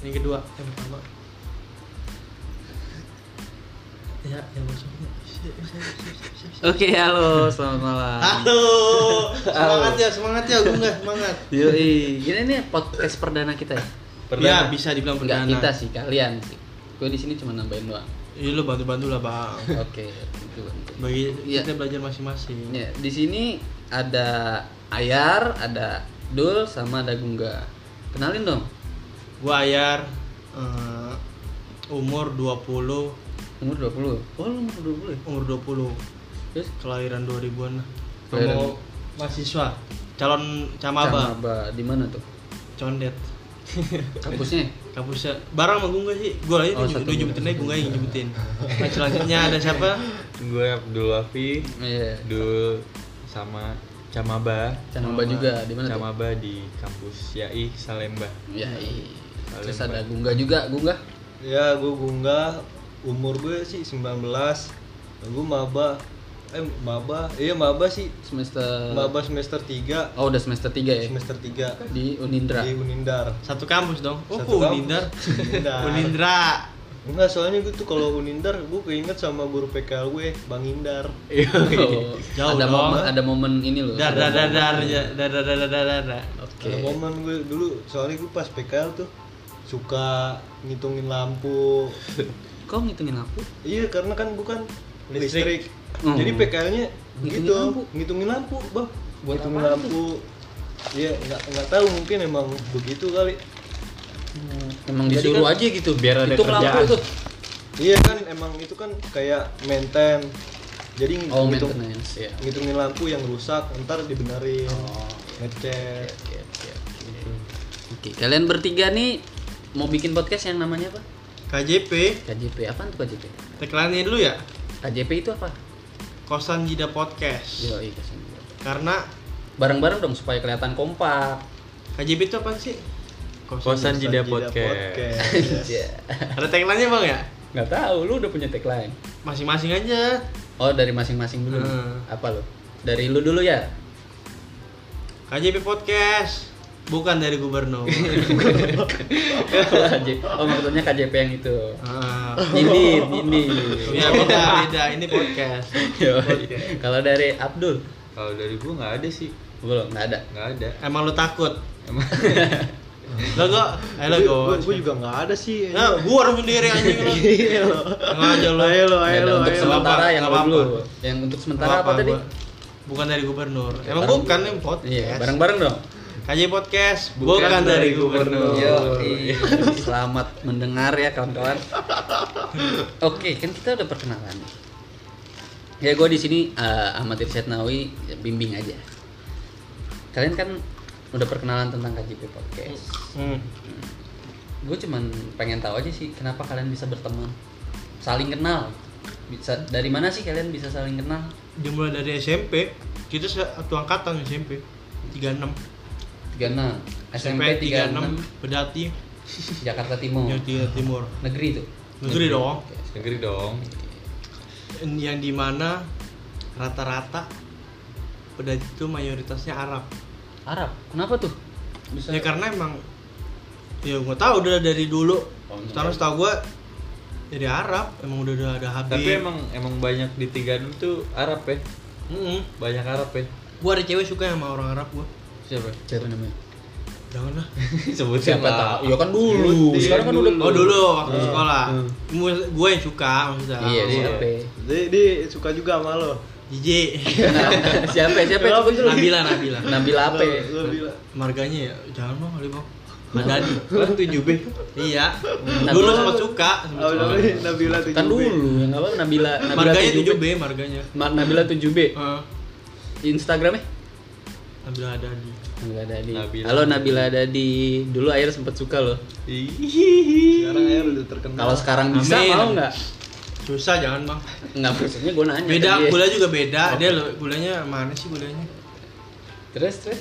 yang kedua yang pertama ya yang masuk oke halo selamat malam Halo. Semangat ya, semangat ya, gue nggak semangat. yoi gini nih podcast perdana kita ya Ya Perdana. bisa dibilang enggak perdana. kita sih kalian sih gue di sini cuma nambahin doang Iya lo bantu-bantu lah bang. oke itu itu. Bagi Iya. kita belajar masing-masing. Ya, di sini ada Ayar, ada Dul, sama ada Gungga. Kenalin dong. Gue Ayar, eh, umur 20 Umur 20. Oh, lu umur 20 ya? umur 20 Terus kelahiran 2000-an lah. Kelahiran. Mau mahasiswa, calon camaba, Camaba. Di mana tuh? condet. Kampusnya? Kampusnya barang sama gue nggak sih? Gue aja Oh, tuh satu lu nyebutin aja gue nggak yang nyebutin. Nah selanjutnya ada siapa? Gue Abdul Wafi, Iya. Dul sama Camaba. Camaba juga. Di mana tuh? Camaba di kampus YAI Salemba. Ya, iya. Paling Terus ada baik. Gungga juga, Gungga. Ya, gue Gungga, umur gue sih 19. Gue maba. Eh, maba. Iya, maba sih. Semester Maba semester 3, Oh, udah semester 3 ya. semester 3 Di Unindra. di Unindar. Satu kampus dong. Oh, kok Satu kampus. Unindra. Unindar. Unindra. Enggak, soalnya gue tuh kalau Unindar gue keinget sama guru PKL gue, Bang Indar. Iya, Oh, Jauh ada dong. momen ada momen ini loh. Dar dar Ada dar momen. dar ya, dar dar dar dar dar, dar. Oke. Ada momen gue dulu soalnya gue pas PKL tuh suka ngitungin lampu. Kok ngitungin aku? iya, karena kan gue kan Listrik. listrik. Hmm. Jadi PKL-nya Ngitungin gitu, lampu. ngitungin lampu, Bah. Buat ngitungin apaan lampu. Iya, nggak nggak tahu mungkin emang begitu kali. Emang Jadi disuruh kan aja gitu biar ada Hitung lampu kerjaan. tuh. Iya kan emang itu kan kayak maintain. Jadi ng- Oh, ngitung- maintenance ya. ngitungin lampu yang rusak ntar dibenerin. Oh. Ngecek. Oke, oke, oke. Oke, kalian bertiga nih mau bikin podcast yang namanya apa? KJP, KJP. Apaan tuh KJP? teklanin dulu ya. KJP itu apa? Kosan Jida Podcast. Yo, iya kesan gua. Karena Bareng-bareng dong supaya kelihatan kompak. KJP itu apa sih? Kosan Jida Jeda Podcast. Iya. Ada tagline-nya Bang ya? Nggak tahu lu udah punya tagline. Masing-masing aja. Oh, dari masing-masing dulu. nih. Hmm. Apa lu? Dari lu dulu ya. KJP Podcast. Bukan dari gubernur. KJ oh, maksudnya KJP yang itu. Ah. Ini, ini. ya beda beda ini podcast. Yo, kalau dari Abdul Kalau dari gue nggak ada sih, belum nggak ada. nggak ada. Emang lu takut? Emang Lo kok, eh lo Gue go. gue juga nggak ada sih. Nah, gua harus sendiri anjing lu. Iya lo. Ngajo lu. Ayo Nggak lo, ayo ada untuk lo, ayo lo. sementara apa-apa, yang Oh, iya, nggak lu dulu. apa-apa. Yang untuk sementara Nggak apa, tadi? gua- Bukan dari gubernur. Emang Bareng- bukan ini podcast. Iya, bareng-bareng dong. KJ Podcast bukan, dari gubernur. Yo, Iya. selamat mendengar ya kawan-kawan. Oke, kan kita udah perkenalan. Ya gue di sini eh, Ahmad Irsyad Nawawi ya, bimbing aja. Kalian kan udah perkenalan tentang KJP Podcast. Hmm. Gue cuman pengen tahu aja sih kenapa kalian bisa berteman, saling kenal. Bisa dari mana sih kalian bisa saling kenal? Dimulai dari SMP, kita satu angkatan SMP. 36. 36 SMP 36 Bedati, Jakarta Timur. yang tiga timur. Negeri tuh. Negeri dong. Oke. negeri dong. Yang dimana rata-rata udah itu mayoritasnya Arab. Arab. Kenapa tuh? Bisa Ya karena emang ya gue tahu udah dari dulu. Terus tahu gue dari Arab emang udah udah ada Habib. Tapi emang emang banyak di 36 tuh Arab ya, Mm-mm. banyak Arab ya. Gua ada cewek suka sama orang Arab gua. Siapa? siapa namanya? Jangan lah. Sebutin Siapa lah. tahu? Ya kan dulu. Sebutin Sekarang kan udah Oh dulu waktu Hmm. sekolah. Hmm. Mu- Gue yang suka maksudnya. Iya, Iya. siapa? Jadi dia suka juga sama lo. Jiji. siapa? Siapa? Kenapa Coba sih? dulu. Nabila Nabila. Nabil apa? Lo- Lo bilang. Marganya ya jangan bang kali bang. Badani. Kan 7 B. iya. Nabila. Dulu sempat suka. sempat Oh, suka. Nabila tujuh Kan B. dulu yang apa Nabila Iya. Nabila Marganya 7B. 7B marganya. Ma- Nabila 7B. Eh, Instagramnya? Nabila Adani. Nabila Dadi. Nabila. Halo Nabila Dadi. Dulu air sempet suka loh. Sekarang air udah terkenal. Kalau sekarang bisa Amin. mau nggak? Susah jangan bang. Nggak maksudnya gue nanya. Beda iya. tadi. gula juga beda. Dia lo- gulanya mana sih gulanya? Terus terus.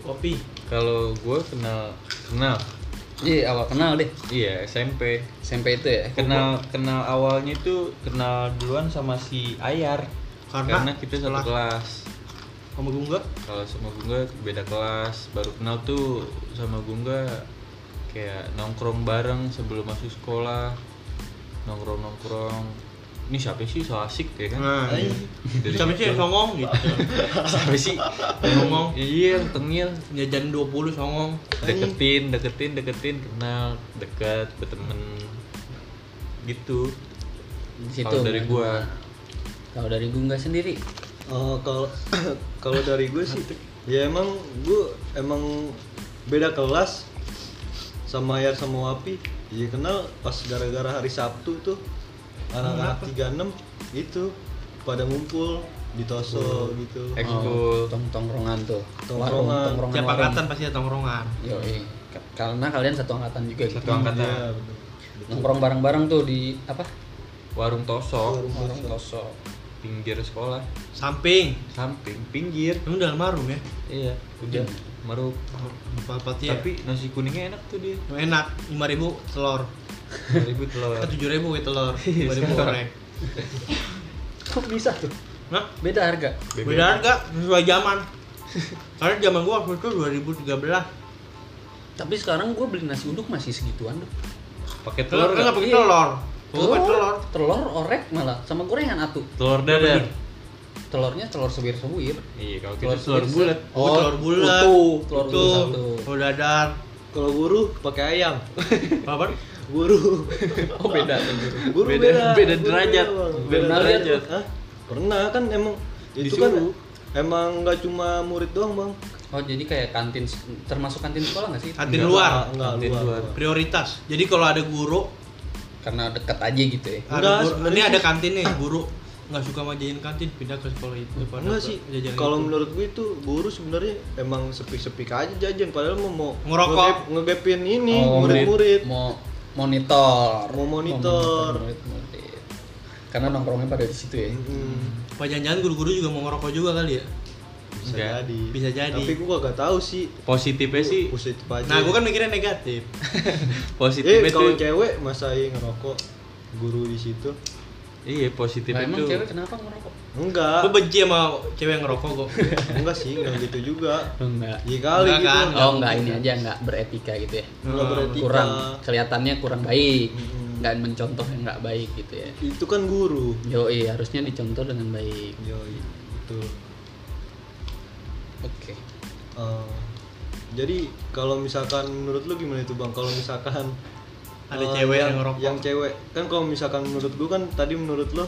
Kopi. Kalau gue kenal kenal, Iya awal kenal deh. iya SMP. SMP itu ya. Kenal kenal awalnya tuh kenal duluan sama si Ayar. Karena Karena kita satu setelah- kelas. Sama gue enggak? Kalau sama Gungga beda kelas, baru kenal tuh sama Gungga kayak nongkrong bareng sebelum masuk sekolah nongkrong nongkrong ini siapa sih so asik ya kan Nah, Iya. Dari Sampai sih kecil. songong gitu. siapa sih Ngomong. iya tengil Jajan 20 songong. deketin deketin deketin kenal dekat berteman gitu Di situ. kan? Kalau dari gua. Kalau dari gua nggak sendiri. Eh, kalau kalau dari gue sih ya emang gue emang beda kelas sama Yar sama Wapi ya kenal pas gara-gara hari Sabtu tuh anak-anak 36 itu pada ngumpul di Toso gitu Oh. ekskul tong tongkrongan tuh. Tongkrongan. Warung- Tongkrongan. Tiap warung. angkatan pasti ada tongkrongan. Yoi. Ka- Karena kalian satu angkatan juga gitu. Satu angkatan. Iya, bener. Nongkrong bareng-bareng tuh di apa? warung tosok Warung Warung Toso. Toso. pinggir sekolah Samping. samping pinggir Emang dalam harum ya? iya udah meruk Apa ya? Tapi tapi nasi kuningnya enak tuh dia enak, 5000 telur. ribut telur Iya, Kita 7000 ya telur, 5000 korek. Kok bisa tuh? Nah, Beda harga. BBM. beda harga sesuai zaman. Karena zaman gua waktu itu 2013. Tapi sekarang gua beli nasi uduk masih segituan tuh. pakai Telur telur kan Iya. enggak nggak? pakai telur. Gua pakai telur. Oh, telur orek malah sama gorengan atuh. telur dadar Telurnya telur sewir-sewir. iya kalau kita telur sewir- bulat Oh, telur bulat. utuh. telur Itu bulat satu. telur dadar. kalau guru pakai ayam Apa? guru Oh, beda tuh. gitu. guru Beda- beda beda guru derajat. Bang. Beda derajat. Hah? pernah kan emang itu kan Disuruh. emang nggak cuma murid doang bang Oh, jadi kayak kantin termasuk kantin sekolah nggak sih? Kantin Enggak, luar. enggak Kantin luar, luar. luar. Prioritas. Jadi kalau ada guru, Karena deket aja gitu ya. ada Enggak, guru- sebenarnya ini ada sih- kantin nih, guru nggak suka majain kantin pindah ke sekolah itu pada Enggak ke sih, jajanan kalau itu. menurut gue itu guru sebenarnya emang sepi-sepi aja jajan padahal mau mau Ngerokok. ngegep- ngegepin ini Oh, murid-murid. mau monitor. Mau monitor. Mau monitor murid-murid. Karena nongkrongnya pada di situ ya. Mm, Apa jangan-jangan guru-guru juga mau ngerokok juga kali ya? bisa Enggak. jadi. Bisa jadi. Tapi gue gak tahu sih. positifnya sih Positif aja. Nah, gua kan mikirnya negatif. eh positifnya kalau tuh cewek masa iya ngerokok guru di situ? iya positifnya Nah, emang tuh cewek kenapa ngerokok? Gua Enggak. benci sama cewek yang ngerokok kok. enggak sih, enggak gitu juga. Enggak. Iya kali Enggak gitu. kan? Oh, enggak ini aja enggak beretika gitu ya. Eh, Enggak beretika. Kurang kelihatannya kurang baik Mm-mm. dan mencontoh yang enggak baik gitu ya. Itu kan guru. Yoi, harusnya dicontoh dengan baik. Yoi, betul. Oke. Eh, jadi kalau misalkan menurut lu gimana itu bang? Kalau misalkan Ada eh, cewek yang ngerokok. yang cewek kan kalau misalkan menurut gua kan tadi menurut lu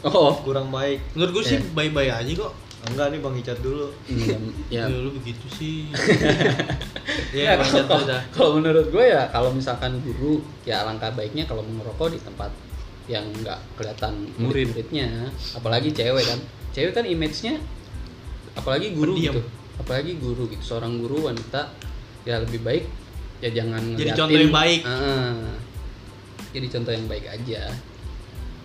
Oh. kurang baik. Menurut gua sih baik-baik aja kok. Enggak nih bang Icat dulu. Iya, ya. Ya lu begitu sih. Ya, Ya, emang jatuh kalau, dah. kalau menurut gue ya kalau misalkan guru ya alangkah baiknya kalau merokok di tempat yang nggak kelihatan Murid. murid-muridnya, apalagi cewek kan. Cewek kan image-nya apalagi guru Pendiam. gitu. Apalagi guru gitu, seorang guru wanita ya lebih baik ya jangan Jadi ngeliatin- contoh yang baik. Heeh. jadi contoh yang baik aja.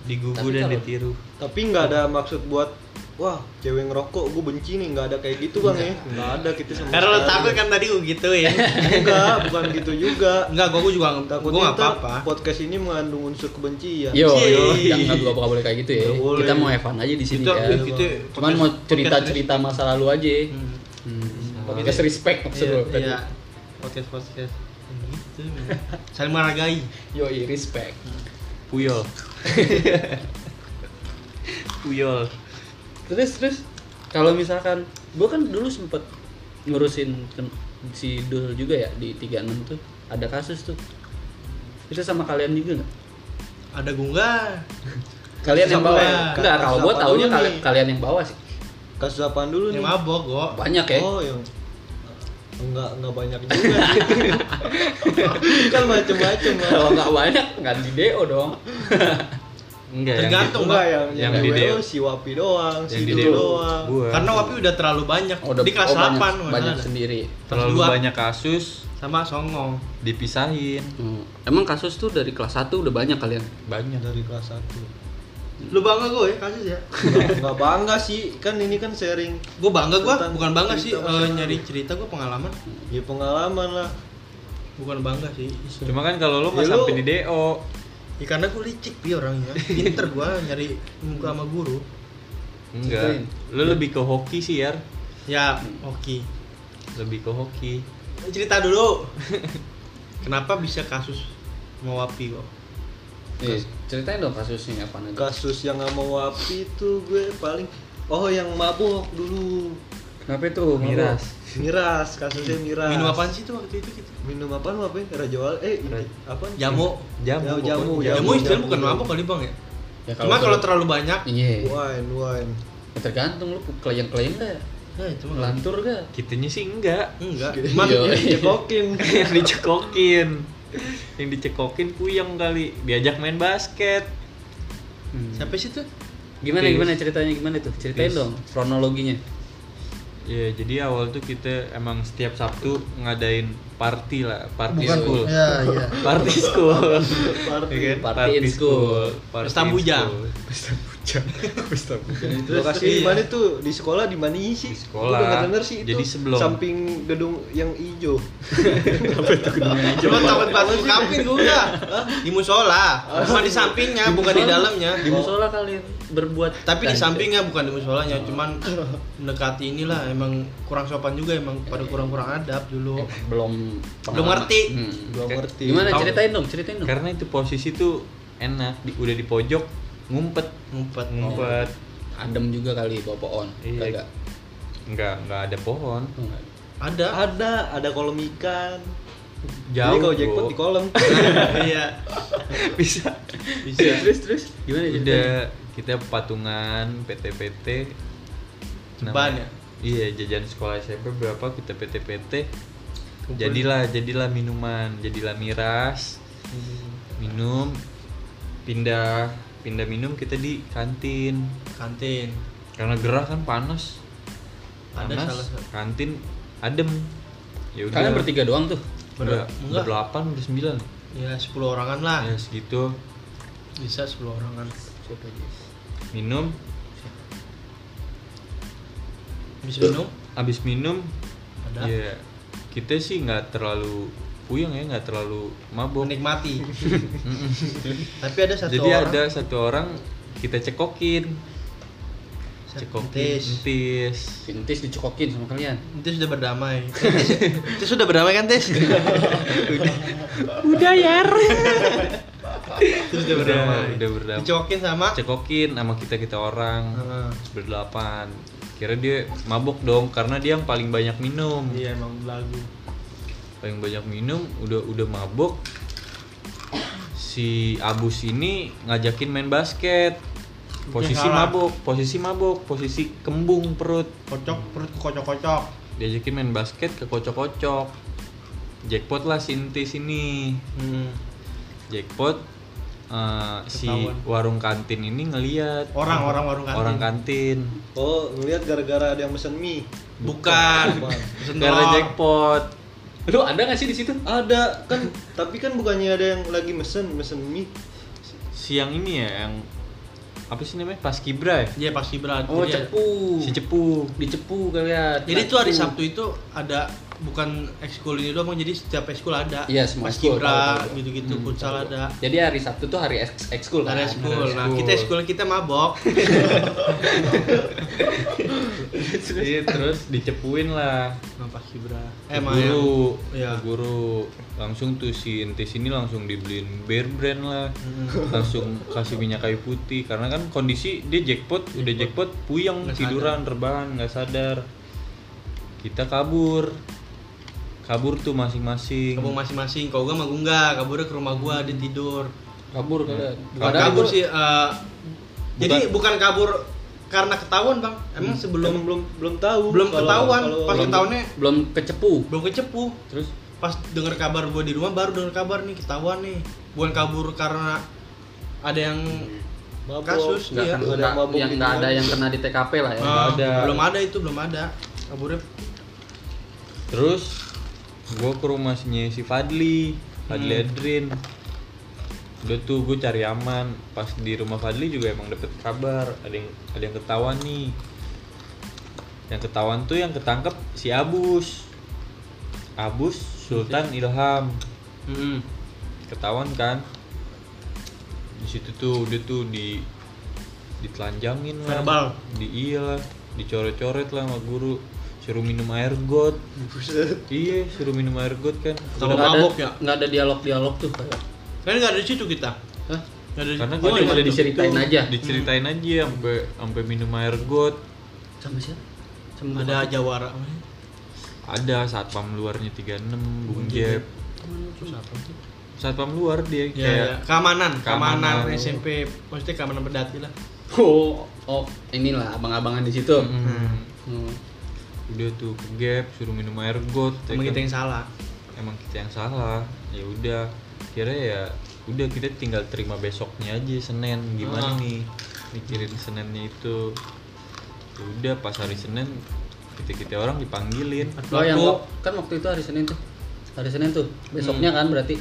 digugu Tapi dan kalau- ditiru Tapi nggak ada maksud buat wah cewek ngerokok gue benci nih nggak ada kayak gitu bang ya nggak ada kita sama Karena lu sekali. takut kan tadi gua gituin. enggak bukan gitu juga Enggak, gua gua juga gua takutnya enggak ntar apa-apa. podcast ini mengandung unsur kebencian Yo, yo, Yeay. jangan Iya, nggak bakal boleh kayak gitu ya. Nggak boleh. Kita mau Evan aja di sini Kita ya. kita Cuman mau cerita-cerita masa lalu aja. Hmm. Hmm. Podcast respect maksud Iya, lo tadi. iya. Podcast podcast gitu. men. Saling menghargai. Yoi, respect. puyol puyol Terus terus kalau misalkan gue kan dulu sempet ngurusin tem- si Dul juga ya di 36 tuh ada kasus tuh. Itu sama kalian juga nggak? Ada gua enggak? Kalian yang Sama bawa? ya. Enggak, kalau gue Sama taunya dulu kalian, nih. kalian yang bawa sih. kasus apaan dulu Yang nih mabok kok. Banyak ya. Oh, yang enggak enggak banyak juga. sih. kan macem-macem lah. Kalau nggak banyak nggak di DO dong. enggak yang Tergantung. Enggak yang Yang yang, di di Deo. si Wapi doang, di- si yang di E. Dul Deo. doang. gua Karena Wapi udah terlalu banyak. Oh, udah- Di kelas oh, banyak, 8 nggak banyak salah. sendiri. terlalu Dua. banyak kasus Sama Songong. dipisahin Hmm. Emang kasus tuh dari kelas 1 udah banyak ya? kalian? banyak Dari kelas 1. Lu bangga gue ya kasus ya? Enggak bangga sih, kan ini kan sharing Gue bangga gue, Tentang bukan bangga sih eh, cerita masa lalu. nyari cerita gue pengalaman. ya pengalaman lah. Bukan bangga sih. cuma kan kalau lu nggak Ya, lu- sampai di do Ya, karena gue licik pi orangnya. Pinter gue nyari muka sama guru. enggak lu Ya. lebih ke hoki sih yar Ya, oke. lebih ke hoki Cerita dulu. Kenapa bisa kasus mau api kok? Iya, ceritain dong kasusnya apa aja. kasus yang sama Wapi itu gue paling oh yang mabok dulu Kenapa itu? Miras. miras kasusnya miras Minum apaan sih itu waktu itu kita? minum apaan apa raja wali eh ini Ra- apa Jamu. jamu jamu jamu, Jamu istilahnya bukan mabok kali bang ya? Ya, Cuma kalau terlalu banyak, Iya. wine wine Ya, tergantung lu kelayang-kelayang gak? eh cuma Lantur gak? Kitanya sih enggak. enggak. Iya. Cuman cekokin yang dicekokin. yang dicekokin puyeng kali. Diajak main basket. Hmm. siapa sih tuh? Gimana Tis. gimana ceritanya gimana tuh? Ceritain Tis. dong kronologinya. Ya, jadi awal tuh kita emang setiap Sabtu ngadain party lah, party Bukan, school. Bu. Ya, ya. Party school. Party. Ya kan? Party in school. Pesta in bujang. school. Pesta bujang. Pesta bujang. Terus, lokasi terus, di iya. mana tuh di sekolah di mana sih? Di sekolah. Gue udah denger sih itu. Jadi sebelum. Samping gedung yang hijau. Cuma takut batu kambing gue udah. Di musola, cuma di sampingnya, Ya, bukan di dalamnya. Di musola kalian berbuat Tapi di sampingnya bukan di musolanya, cuman mendekati inilah emang kurang sopan juga emang pada kurang-kurang adab dulu. Eh, belum Belum ngerti. Hmm. Gua ngerti. Gimana Tahu. ceritain dong, ceritain dong. Karena itu posisi tuh enak, di- udah di pojok ngumpet, Ngumpet. ngumpet. Adem juga kali bawa pohon. Iya. Kagak. Enggak, enggak ada pohon. Oh, nggak. Ada. Ada, ada kolam ikan. Jauh. Jadi kalau jackpot Bu. di kolam. Iya. bisa. Iya, terus terus gimana ceritanya? Udah kita patungan PT-PT. Ceban ya? Iya, jajan sekolah SMP berapa kita PT-PT. Jadilah, jadilah minuman, jadilah miras. Hmm. Minum pindah pindah minum kita di kantin. Kantin. Karena gerah kan panas. Ada Panas, salah satu. Kantin adem. Ya udah. Kalian bertiga doang tuh. Udah, Enggak. udah 8, udah 9. Ya 10 orangan lah. Ya segitu Bisa 10 orangan. minum, Bisa minum? abis minum Ada. ya kita sih nggak terlalu puyeng ya, nggak terlalu mabok. Menikmati. Mm-mm. Tapi ada satu Jadi orang. ada satu orang kita cekokin, Satu cekokin, entis. entis. Sintis dicokokin sama kalian. Entis sudah berdamai. Entis, Entis sudah berdamai kan, Tis? udah. Udah ya. Entis sudah Udah, berdamai. udah berdamai. Dicokin sama Cekokin sama kita kita orang Heeh. berdelapan. Kira dia mabok dong karena dia yang paling banyak minum. Iya, emang lagu. paling banyak minum udah udah mabok si abus ini ngajakin main basket posisi Dia kalah. mabok posisi mabok posisi kembung perut Kocok perut kocok-kocok. diajakin main basket ke kocok-kocok jackpot lah sinti sini Hmm. jackpot eh, si Ketahuan. warung kantin ini ngeliat Orang, orang warung kantin. orang kantin Oh, ngeliat gara-gara ada yang pesen mie. Bukan. Pesen karena telur. jackpot Lu ada gak sih di situ? Ada kan, tapi kan bukannya ada yang lagi mesen mesen mie. siang ini ya yang apa sih namanya pas kibra ya? Iya, pasti berat. Oh, Jadi- cepu. si cepu Dicepu kalian. Jadi itu hari Sabtu itu ada bukan ekskul ini doang, jadi setiap ekskul ada. Iya, ya? semua Mas ekskul, tahu, Kibra, tahu, Hmm, tahu. gitu-gitu, futsal ada. Jadi hari Sabtu tuh hari ex- ekskul kan? Dari ekskul. Nah, ekskul. kita ekskul kita mabok. Iya terus dicepuin lah Sama Pak Kibra. Ke Eh, sama yang- guru, Iya. Ke guru langsung tuh si entis ini langsung dibeliin bear brand lah, Mm. langsung kasih minyak kayu putih karena kan kondisi dia jackpot, udah jackpot puyeng Nggak tiduran rebahan nggak sadar, kita kabur, kabur tuh masing-masing. Kamu masing-masing, kalau gua mah gua enggak, kaburnya ke rumah gua dia tidur. Kabur kalian. Bukan Padahal Hmm. kabur gua- sih, eh, jadi bukan kabur karena ketahuan bang, emang sebelum Belum belum belum tahu. belum kalau- ketahuan, kalau- pas ketahuannya belum kecepu. belum kecepu. Terus Pas denger kabar gua di rumah baru denger kabar nih ketahuan nih. Bukan kabur karena ada yang mabok. kasus, nggak iya. kan- Ada nggak- mabuk yang di nggak ada tengah. yang kena di TKP lah ya. eh, ada. belum ada itu belum ada kaburnya. Terus gue ke rumahnya si Fadli, Fadli Hmm. Adrin. Udah tuh gue cari aman. Pas di rumah Fadli juga emang dapet kabar ada yang ada yang ketahuan nih. Yang ketahuan tuh yang ketangkep si Abus. Abus Sultan Ilham Hmm. ketahuan kan. Di situ tuh udah tuh di ditelanjangin lah. iya Verbal. Di iyalah, dicoret-coret lah sama guru. Si suruh minum air got iya suruh minum air got kan Kalau Nggak mabok ada, ya? nggak ada dialog-dialog tuh ya. kayak. Kan nggak ada di situ kita. Hah? Nggak ada karena di gue Oh, cuma iya, diceritain situ. aja. diceritain aja sampai sampai minum air got Sama siapa? Sama ada Bupati. jawara. ada saat pam luarnya 36 bung jeb saat pam luar dia Ya, kayak ya. Keamanan, keamanan, keamanan. SMP, maksudnya keamanan pedati lah. Oh, oh, inilah abang-abangan di situ. Mm, Hmm. udah tuh ke gap suruh minum air got ya Emang kan. kita yang salah. emang kita yang salah ya udah kira ya udah kita tinggal terima besoknya aja senin gimana Ah. nih mikirin senennya itu Ya udah pas hari senin kita kita orang dipanggilin Oh, yang Aku- kan waktu itu hari Senin tuh. Hari Senin tuh. Besoknya kan berarti.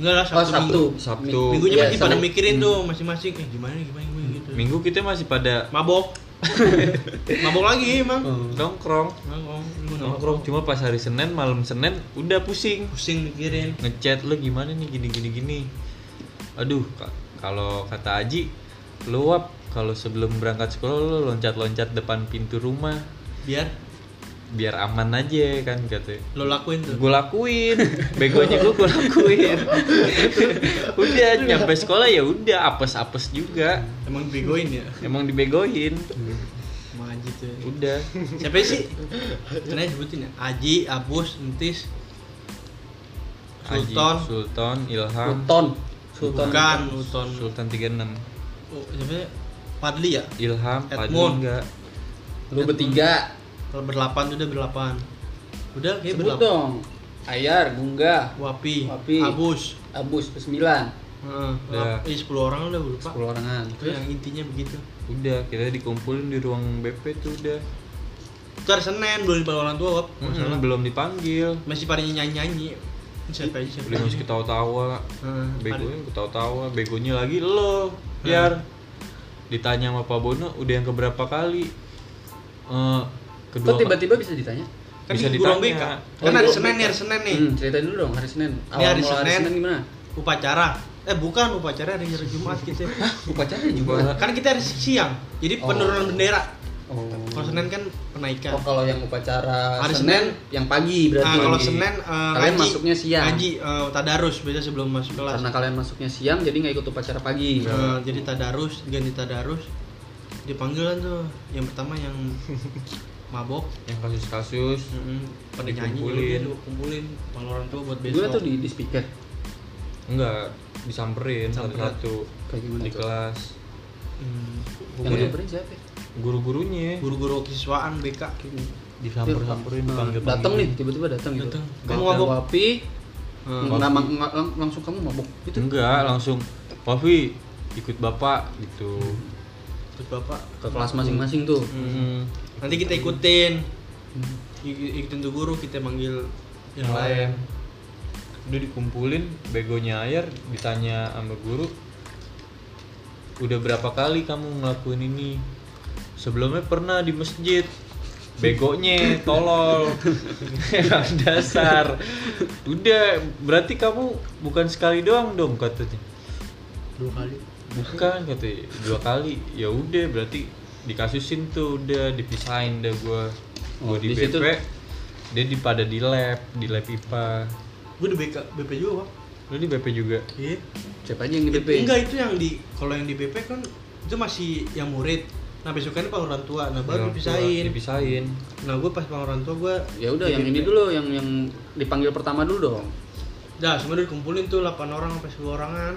Enggak lah, oh, Hmm. Sabtu. Minggu. Sabtu. Sabtu. Mi- Minggunya iya, pasti pada Sabtu. mikirin tuh masing-masing, eh gimana gimana gimana gitu. Hmm. minggu kita masih pada Mabok. Mabok lagi, Mang. Hmm. nongkrong Mabok, lu nongkrong Oh. cuma pas hari senin malam senin udah pusing pusing mikirin. ngechat lu gimana nih gini gini gini aduh ka- kalau kata Aji lu wap kalau sebelum berangkat sekolah lu loncat-loncat depan pintu rumah Biar biar aman aja kan katanya lo lakuin tuh. gue lakuin begonya gue gue lakuin udah nyampe sekolah ya udah apes apes juga Emang begoin ya? emang dibegoin Emang Aji tuh. udah Siapa sih? Kenapa sebutin ya? Aji, Abus, Entis, Aji, Sultan, Sultan Ilham Sultan. Sultan. Bukan, Sultan. Sultan 36 Oh, siapa ya? Padli ya? Ilham Edmund. Padli enggak Lu bertiga. Kalau berdelapan tuh udah berdelapan. Udah kayak Sebut berdelapan. dong. Ayar, Gungga, Wapi, Wapi. Abus. Abus, Sembilan. Heeh. Udah. Eh, 10 orang udah gue lupa. Sepuluh orangan. Itu yang intinya begitu. udah kita dikumpulin di ruang BP tuh udah Ntar Senin belum dipanggil orang tua, Wap. Mm-mm, Masalah. belum dipanggil Masih pada nyanyi-nyayi. Siapa aja siapa Beli aja. masih ketawa-tawa Heeh. Begonya ketawa-tawa Begonya lagi lo Biar Ditanya sama Pak Bono Udah yang keberapa kali Eh, Kedua Kok tiba-tiba bisa ditanya? Kan bisa di gurung BK. ditanya Kan Oh, hari iya. Senin nih, hari Senin nih. Hmm, ceritain dulu dong hari Senin. Awal hari mula hari Senin. Senin gimana? Upacara. Eh bukan upacara hari hari Jumat gitu. kita. Upacara juga. kan kita hari siang. Jadi Oh. penurunan bendera. Oh. Kalau Senin kan penaikan. Oh, kalau yang upacara Hari Senin, Senin. yang pagi berarti. Nah, kalau Pagi. Senin eh, kalian ngaji. masuknya siang. Ngaji eh, tadarus biasa sebelum masuk kelas. Karena kalian masuknya siang jadi nggak ikut upacara pagi. Eh, jadi tadarus, ganti tadarus. Dipanggilan tuh. Yang pertama yang mabok, Yang kasus-kasus Mm-mm. pada nyanyi Dikumpulin. juga lu kumpulin panggil orang tua buat besok. Gimana tuh di, di speaker? Enggak Disamperin Samperin. satu-satu Kayak gimana Di tuh? kelas Hmm, Yang Iya. nyamperin siapa? ya? Guru-gurunya guru-guru kesiswaan BK Eh, Disamper-samperin Nah, dipanggil-panggil. datang nih tiba-tiba datang gitu. Datang. Kamu Kamu mabuk. mabok. Wapi, Hmm. nggak mang- nggak- lang- langsung kamu mabuk gitu. Enggak langsung Wafi ikut bapak gitu Terus bapak Ke kelas masing-masing tuh. Mm. nanti kita ikutin Hmm. Ik- ikutin tuh guru kita manggil Nah. yang lain udah dikumpulin begonya air ditanya sama guru udah berapa kali kamu ngelakuin ini sebelumnya pernah di masjid begonya tolol Emang dasar udah berarti kamu bukan sekali doang dong katanya dua kali bukan katanya dua kali ya udah berarti dikasusin tuh udah dipisahin dah gua gua Oh, di, di BP situ- dia di pada di lab di lab IPA gue di BK BP juga pak lu di BP juga iya Siapa aja yang di BP? Eh, enggak itu yang di kalau yang di BP kan itu masih yang murid nah besokannya pak orang tua nah baru Orang tua dipisahin Iya, dipisahin nah gue pas pak orang tua gue Ya udah yang ini dulu yang yang dipanggil pertama dulu dong. dah semua udah dikumpulin tuh 8 orang sampai 10 orangan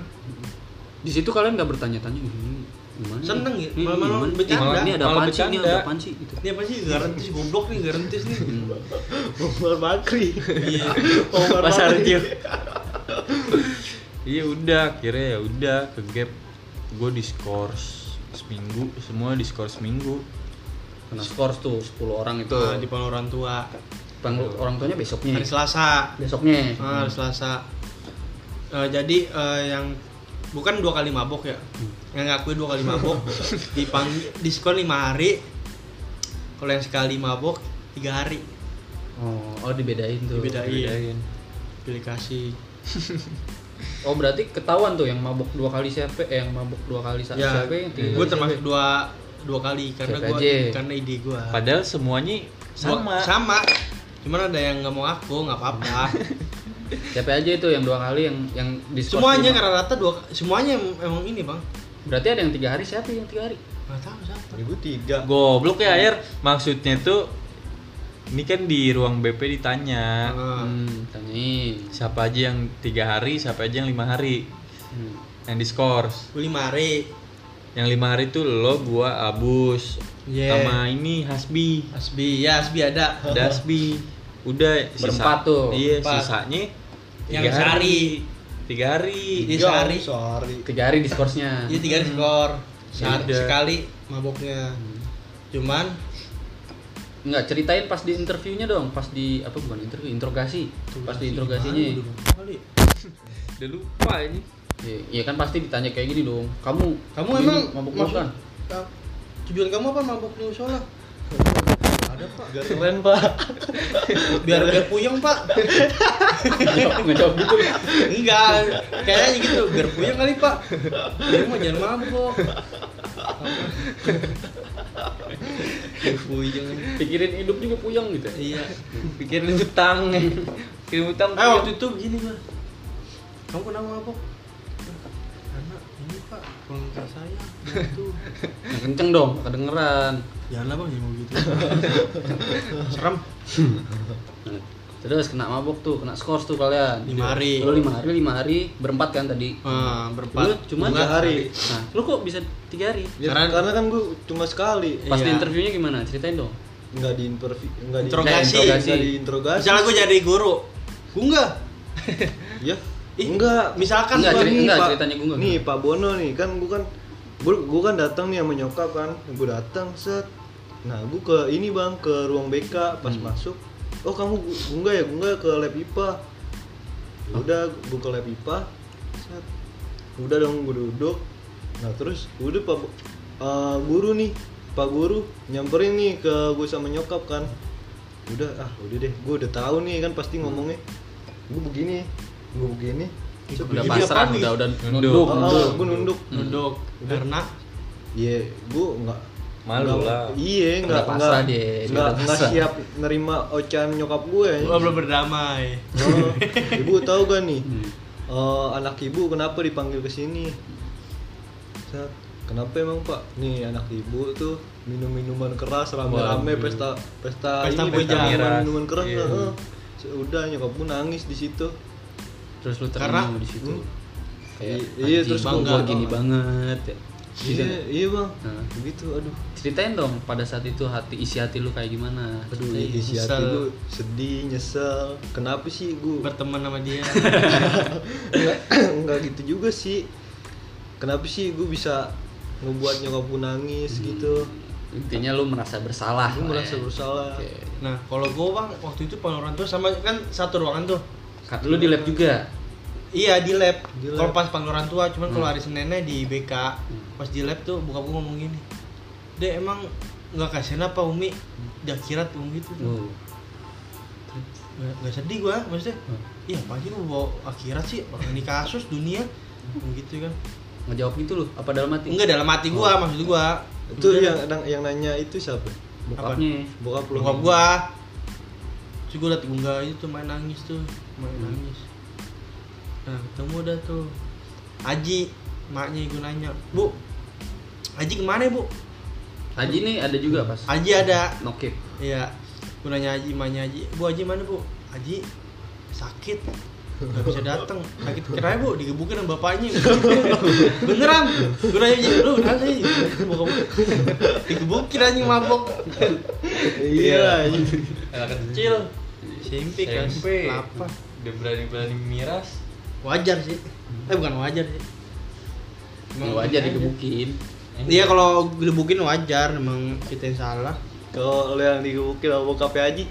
Di situ kalian nggak bertanya-tanya "Hmm, gimana? Seneng ya? Hmm, Malah-malah gimana? bercanda. Malah, Ini ada Malah panci, ini ada bercanda. panci gitu. ini apa sih garantis goblok nih garantis nih Iya, Umar Bakri iya Umar Bakri iya udah akhirnya ya udah ke gap gue diskors seminggu semua diskors seminggu Kena skor tuh 10 orang itu. nah, di depan orang tua Panggil orang tuanya besoknya. hari Selasa Besoknya. Ah, hari Selasa. Eh, jadi eh, yang bukan dua kali mabok ya, Hmm. yang ngakui dua kali mabok dipanggil diskon lima hari. Kalau yang sekali mabok tiga hari Oh, oh dibedain tuh. Dibedain. Bedain. pilih kasih. Oh berarti ketahuan tuh yang mabuk dua kali siapa? Eh, yang mabuk dua kali sa- Ya, siapa? Yang tiga gue kali termasuk siapa? dua dua kali karena Siapa gue aja? karena ide gue. padahal semuanya Sama. Gua- sama cuman ada yang nggak mau aku nggak apa-apa Siapa aja itu yang dua kali yang yang di skor semuanya lima? karena rata dua semuanya em- emang ini bang Berarti ada yang tiga hari siapa yang tiga hari? nggak tahu siapa Ya gue tiga. Goblok ya air. Maksudnya tuh ini kan di ruang BP ditanya Nah, Hmm, tanyain. siapa aja yang tiga hari, siapa aja yang lima hari Hmm. yang diskors. beli mare Yang lima hari tuh lo, gua, Abus, Yeah. sama ini Hasbi, asbi ya asbi ada ada Hasbi. Udah Berempat tuh. Iya, Berempat. sisanya Yang tiga sehari. Tiga hari. Iya. Ya, sehari. Sehari. Tiga hari diskorsnya. Iya tiga skor Ya saat Yaudah. sekali maboknya cuman Enggak, ceritain pas di interviewnya dong, pas di apa bukan interview, interogasi. Pas Gimana di interogasinya. ya? dulu, kali? Udah lupa ini. Iya, iya kan pasti ditanya kayak gini dong. Kamu kamu dulu emang mabuk maksud- mabukan? ta- Ya, tujuan kamu apa mabok di musola Ada pak. Gak keren pak. biar biar puyeng pak Enggak jawab gitu. enggak kayaknya gitu biar puyeng kali pak di rumah jangan mabok biar puyeng Pikirin hidup juga puyeng gitu. iya Pikirin hutang. Pikirin hutang. eh waktu itu begini mah kamu kenapa mabok karena ini pak kalau nggak saya itu Yang kenceng dong, kedengeran. janganlah bang jangan mau gitu serem Terus kena mabok tuh, kena skors tuh kalian. Lima hari. Lu lima hari, lima hari, berempat kan tadi. ah berempat Lu cuma Tiga hari. Nah, lu kok bisa tiga hari? Ya, Karena- karena, kan gue cuma sekali. Pas di Iya. interviewnya gimana? Ceritain dong. Nggak di interview. Nggak di Interogasi. Nggak di interogasi. misalnya gue jadi guru gue enggak Ya. Ih, Enggak. misalkan Enggak, gua cerita- nih, enggak, Pak. ceritanya gue enggak. Nih kan Pak Bono nih kan gue kan gue, gue kan datang nih sama nyokap kan gue datang set nah gue ke ini bang ke ruang BK pas Hmm. masuk oh kamu gu- gungga ya gungga ke lab IPA Ya udah gue ke lab IPA set udah dong gue duduk nah terus udah pak Bo- eh, guru nih pak guru nyamperin nih ke gue sama nyokap kan udah ah udah deh gue udah tahu nih kan pasti ngomongnya gue begini gue begini set Udah begini pasrah, apaan nih? udah udah Nunduk. nunduk, Oh, nunduk. gue nunduk. nunduk karena Iya, gue nggak Malu nggak- lah. Iya, nggak pasrah nggak dia, dia nggak udah nggak pasrah. siap nerima ocehan nyokap gue. Ya. gue belum berdamai Oh, ibu tahu gak nih Hmm. eh, anak ibu kenapa dipanggil ke sini? Set, Kenapa emang pak? Nih anak ibu tuh minum minuman keras rame-rame Waduh. pesta pesta, Pesta ini bujang. minuman, minuman keras. Iya. heeh. Udah nyokap gue nangis di situ. Terus lu Karena- terima di situ. Hmm. Kayak I- iya, anjing, terus gua- bangga. gua gini banget ya. Gitu. Iya, iya bang. Nah. Begitu, aduh. Ceritain dong pada saat itu hati isi hati lu kayak gimana? Aduh, Ceritain. di hati nyesel. gue sedih, nyesel. Kenapa sih gue? berteman sama dia Enggak, enggak gitu juga sih. Kenapa sih gue bisa ngebuat nyokap gue nangis Hmm. gitu? Hmm. Intinya lu merasa bersalah. Gue lah merasa ya. bersalah. Oke. nah kalau gue bang waktu itu paling orang tua sama kan satu ruangan tuh Kat- Kan Lu di lab juga. Iya di lab. Di lab. Kalau pas panggil orang tua, cuman kalau Hmm. hari Seninnya di BK. Pas di lab tuh buka gue ngomong gini. Dek emang nggak kasihan apa Umi? Dia kirat Umi itu. Lu. Nggak nggak sedih gua maksudnya. Hmm. Iya pasti lu bawa akhirat sih orang ini kasus dunia Ngomong gitu kan. Oh. Ngejawab gitu lu apa dalam hati? Enggak dalam hati gua maksud gua. Itu Iya. ya. yang, yang yang nanya itu siapa? Bokapnya. Bokap lu. Bokap gua. Terus gua liat Gungga itu tuh main nangis tuh, main nangis. Nah, ketemu dah tuh. Aji, maknya gua nanya, "Bu, Aji kemana bu? Haji nih ada juga pas. Aji ada. Nokip. Iya. Gue nanya Aji, maknya Aji. Bu Aji mana bu? Aji sakit. Gak bisa datang. Sakit kira bu digebukin sama bapaknya. Beneran. Gue nanya Aji, lu kenapa sih? Bokap gua, Digebukin anjing mabok. Iya. anjing. Anak kecil. SMP kan. SMP. Apa? Udah berani-berani miras. Wajar sih. Eh bukan wajar sih. Lu aja digebukin. Iya kalau gebukin wajar emang kita yang salah. Kalau lu yang digebukin sama bokap Haji,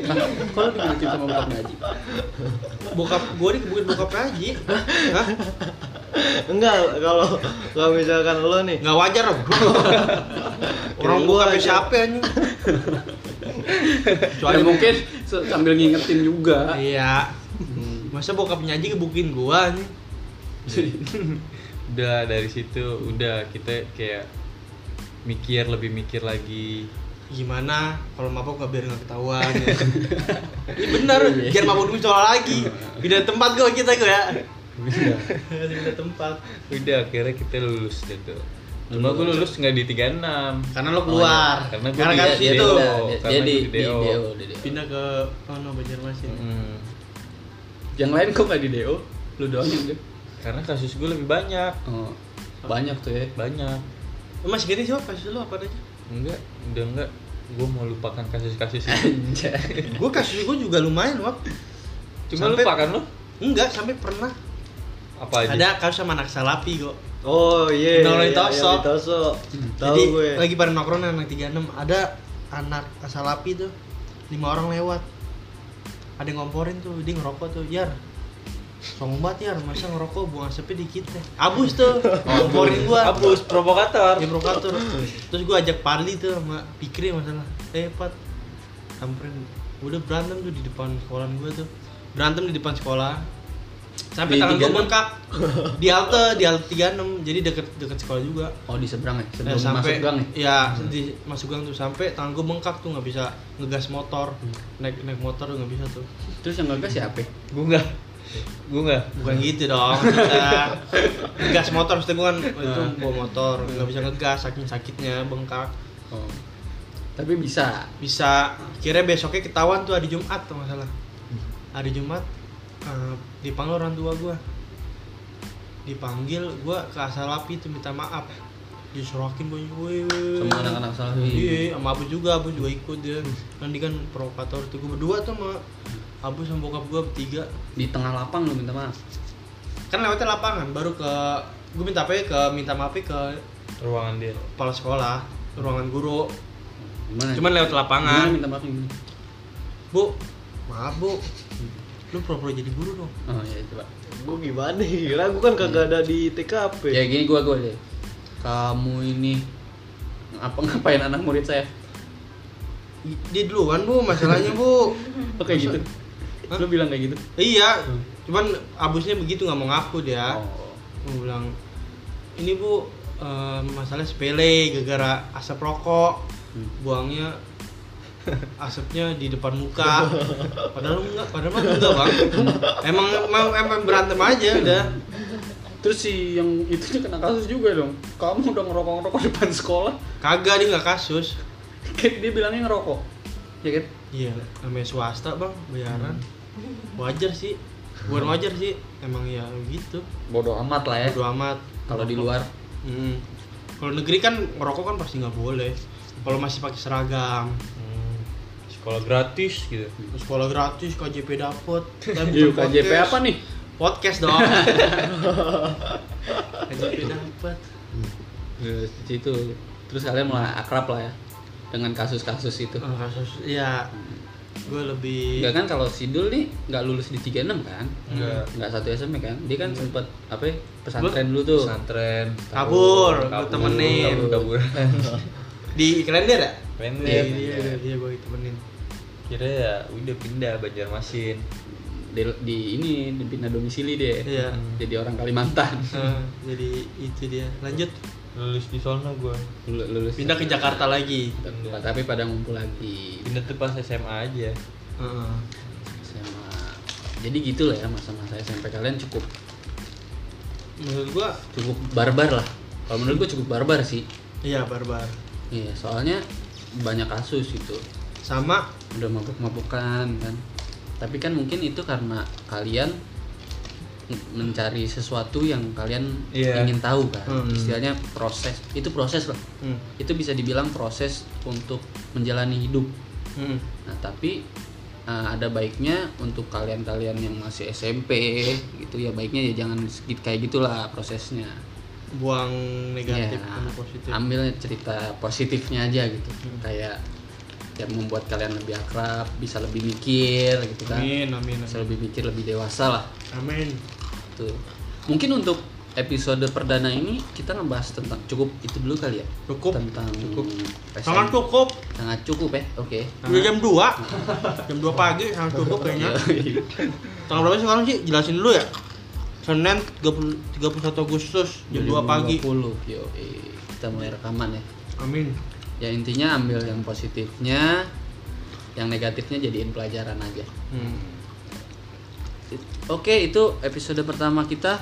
Kalau digebukin sama bokapnya Haji. Bokap gue digebukin bokap Aji. Hah? enggak kalau kalau misalkan lo nih Nggak wajar dong. Orang gua Kirain gua sampai aja. siapa anjing. Ya, Soalnya Ya, mungkin se- sambil ngingetin juga. Iya. Masa bokapnya aja gebukin gua anjing. udah dari situ udah kita kayak mikir lebih mikir lagi gimana kalau mabok nggak biar nggak ketahuan ya. Ini bener, biar mabok dulu soal lagi. Pindah tempat gua kita gua ya. Pindah Iya, tempat. udah akhirnya kita lulus deh tuh cuma gue lulus nggak di 36 Karena lo keluar. iya. Karena gua Karena kan di- kasus dia, dia- dia itu udah- dia, Karena dia di, di di DO. DO, di DO. pindah ke oh no Banjarmasin. Mm. Yang lain kok nggak di DO? Lu doang yang deh. karena kasus gue lebih banyak Oh, banyak tuh ya. banyak Oh, Mas gini siapa kasus lo apa aja? enggak udah enggak gue mau lupakan kasus-kasus itu Anjay. Gua kasus gua juga lumayan, Wap. cuma Sampai- lupakan lo Enggak, sampai pernah apa aja ada kasus sama anak salapi kok. Oh iya. Nolongin iya, Tosok. Hmm. yang di Tosok. Tahu ya. Jadi gue. lagi pada nongkrong anak 36 ada anak asal api tuh lima orang lewat ada yang ngomporin tuh dia ngerokok tuh yar sombong banget yar masa ngerokok buang asapnya dikit deh abus tuh ngomporin gua hapus provokator dia provokator terus gua ajak Parli tuh sama Pikri masalah eh Pat samperin udah berantem tuh di depan sekolahan gua tuh berantem di depan sekolah sampai Di tangan gua 36? bengkak di halte di halte 36 jadi deket deket sekolah juga Oh, di seberang ya? Ya, Sebelum masuk gang ya? ya di masuk gang tuh sampai tangan gue bengkak tuh nggak bisa ngegas motor Hmm. naik naik motor tuh nggak bisa tuh Terus yang ngegas siapa? gue enggak gue enggak bukan gitu dong kita ngegas motor maksudnya gue kan Hmm. waktu itu bawa motor nggak bisa ngegas saking sakitnya bengkak Oh. Tapi bisa. bisa akhirnya besoknya ketahuan tuh hari Jumat tuh masalah Hmm. hari Jumat eh, dipanggil orang tua gue dipanggil gue ke asal api tuh minta maaf disorokin gue Sama anak-anak salafi. Hmm. iya sama abu juga abu juga ikut dia nanti kan provokator tuh gue berdua tuh sama abu sama bokap gue bertiga Di tengah lapang lu minta maaf. kan lewatnya lapangan baru ke gue minta apa ya, ke minta maafnya ke ruangan dia kepala sekolah ruangan guru Gimana? cuman lewat lapangan Gimana minta maaf gimana? Bu, maaf bu, lu pura-pura jadi guru dong. Oh, iya coba. Gue gimana? Kira gue kan kagak ada di TKP. Ya gini gua gua deh. Kamu ini apa ngapain anak murid saya? I- Dia duluan bu, masalahnya bu. Oke gitu. Hah? Lu bilang kayak gitu. Iya, cuman abusnya begitu nggak mau ngaku dia. Oh. Gua bilang, ini bu eh, masalah sepele gara-gara asap rokok, Hmm. buangnya asapnya di depan muka. Padahal enggak, padahal mah enggak bang. Emang emang, emang berantem aja udah. Terus si yang itu kena kasus juga dong. Kamu udah ngerokok-ngerokok depan sekolah. Kagak dia nggak kasus. Kan dia bilangnya ngerokok. Ya kan? Iya, namanya swasta bang, bayaran. Hmm. Wajar sih, bukan wajar sih, emang ya gitu. Bodoh amat lah ya. Bodo amat. Kalau di luar Hmm. Kalau negeri kan ngerokok kan pasti nggak boleh. Kalau masih pakai seragam, Hmm, sekolah gratis gitu sekolah gratis, KJP dapet. Tapi Iya, KJP apa nih? Podcast dong. KJP dapet. Terus di situ. Iya, Terus kalian mulai akrab lah ya dengan kasus-kasus itu. Eh, kasus, ya, gue lebih. Enggak kan kalau Sidul nih nggak lulus di 36 kan? Enggak. Hmm. Nggak satu SMP kan? Dia kan sempet apa ya, pesantren dulu tuh. pesantren Kabur, gua temenin. kabur, kabur. Di Klender ya? pendek Iya, iya, iya, gue temenin. kira ya udah pindah Banjarmasin Di, di ini di pindah domisili dia. Iya. Jadi orang Kalimantan. Eh, jadi itu dia. Lanjut. lulus di sana gue Lul- Lulus Pindah ke Jakarta lagi. Tapi- Tapi pada ngumpul lagi pindah tuh pas SMA aja Heeh. SMA. Jadi gitu lah ya masa-masa SMP kalian cukup menurut gua cukup barbar lah. Kalau menurut gue cukup barbar sih. iya barbar Iya, soalnya banyak kasus gitu. sama udah mabuk-mabukan kan tapi kan mungkin itu karena kalian m- mencari sesuatu yang kalian Iya. ingin tahu kan Hmm. istilahnya proses itu proses lah hmm. itu bisa dibilang proses untuk menjalani hidup Hmm. nah tapi eh, ada baiknya untuk kalian-kalian yang masih SMP gitu ya baiknya ya jangan sedikit kayak gitulah prosesnya buang negatif Ya, ambil positif ambil cerita positifnya aja gitu kayak yang membuat kalian lebih akrab bisa lebih mikir gitu kan amin amin bisa amin lebih mikir lebih dewasa lah amin tuh mungkin untuk episode perdana ini kita ngebahas tentang cukup itu dulu kali ya Cukup. tentang Cukup. PSM. sangat cukup sangat cukup ya oke udah Nah. jam 2 jam 2 pagi sangat cukup kayaknya tanggal berapa sih sekarang sih jelasin dulu ya Senin 30, 31 Agustus jam 2 pagi 20, yoi. kita mulai rekaman ya amin ya intinya ambil yang positifnya yang negatifnya jadiin pelajaran aja Hmm. oke itu episode pertama kita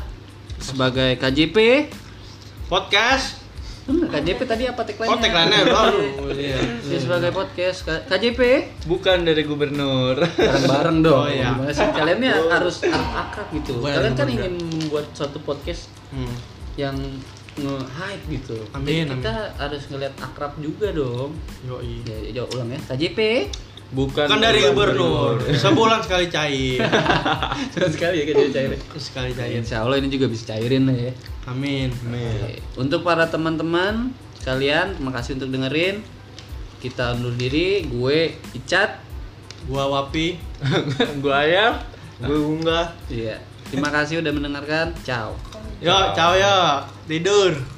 sebagai KJP Podcast. Bener, KJP tadi apa tagline Oh, tagline-nya baru. Iya. sebagai podcast K- KJP Bukan dari gubernur. bareng-bareng dong Oh, iya. Gimana sih? kalian nih harus akrab gitu Boleh, kalian kan boleh. ingin membuat suatu podcast Hmm. yang nge-hype gitu Amin, Jadi kita harus ngeliat akrab juga dong Yoi. ya, ya, ulang ya KJP Bukan, Bukan dari gubernur. Sebulan sekali cair. Senang sekali ya KJP cairin sekali cair. Iya, Insya Allah ini juga bisa cairin lah ya Amin. Oke, Untuk para teman-teman kalian, terima kasih untuk dengerin. Kita undur diri, gue Icat. Gua Wapi. Gua ayam. Gue unggah. Iya. Terima kasih udah mendengarkan. Ciao. Yo, ciao ya. Tidur.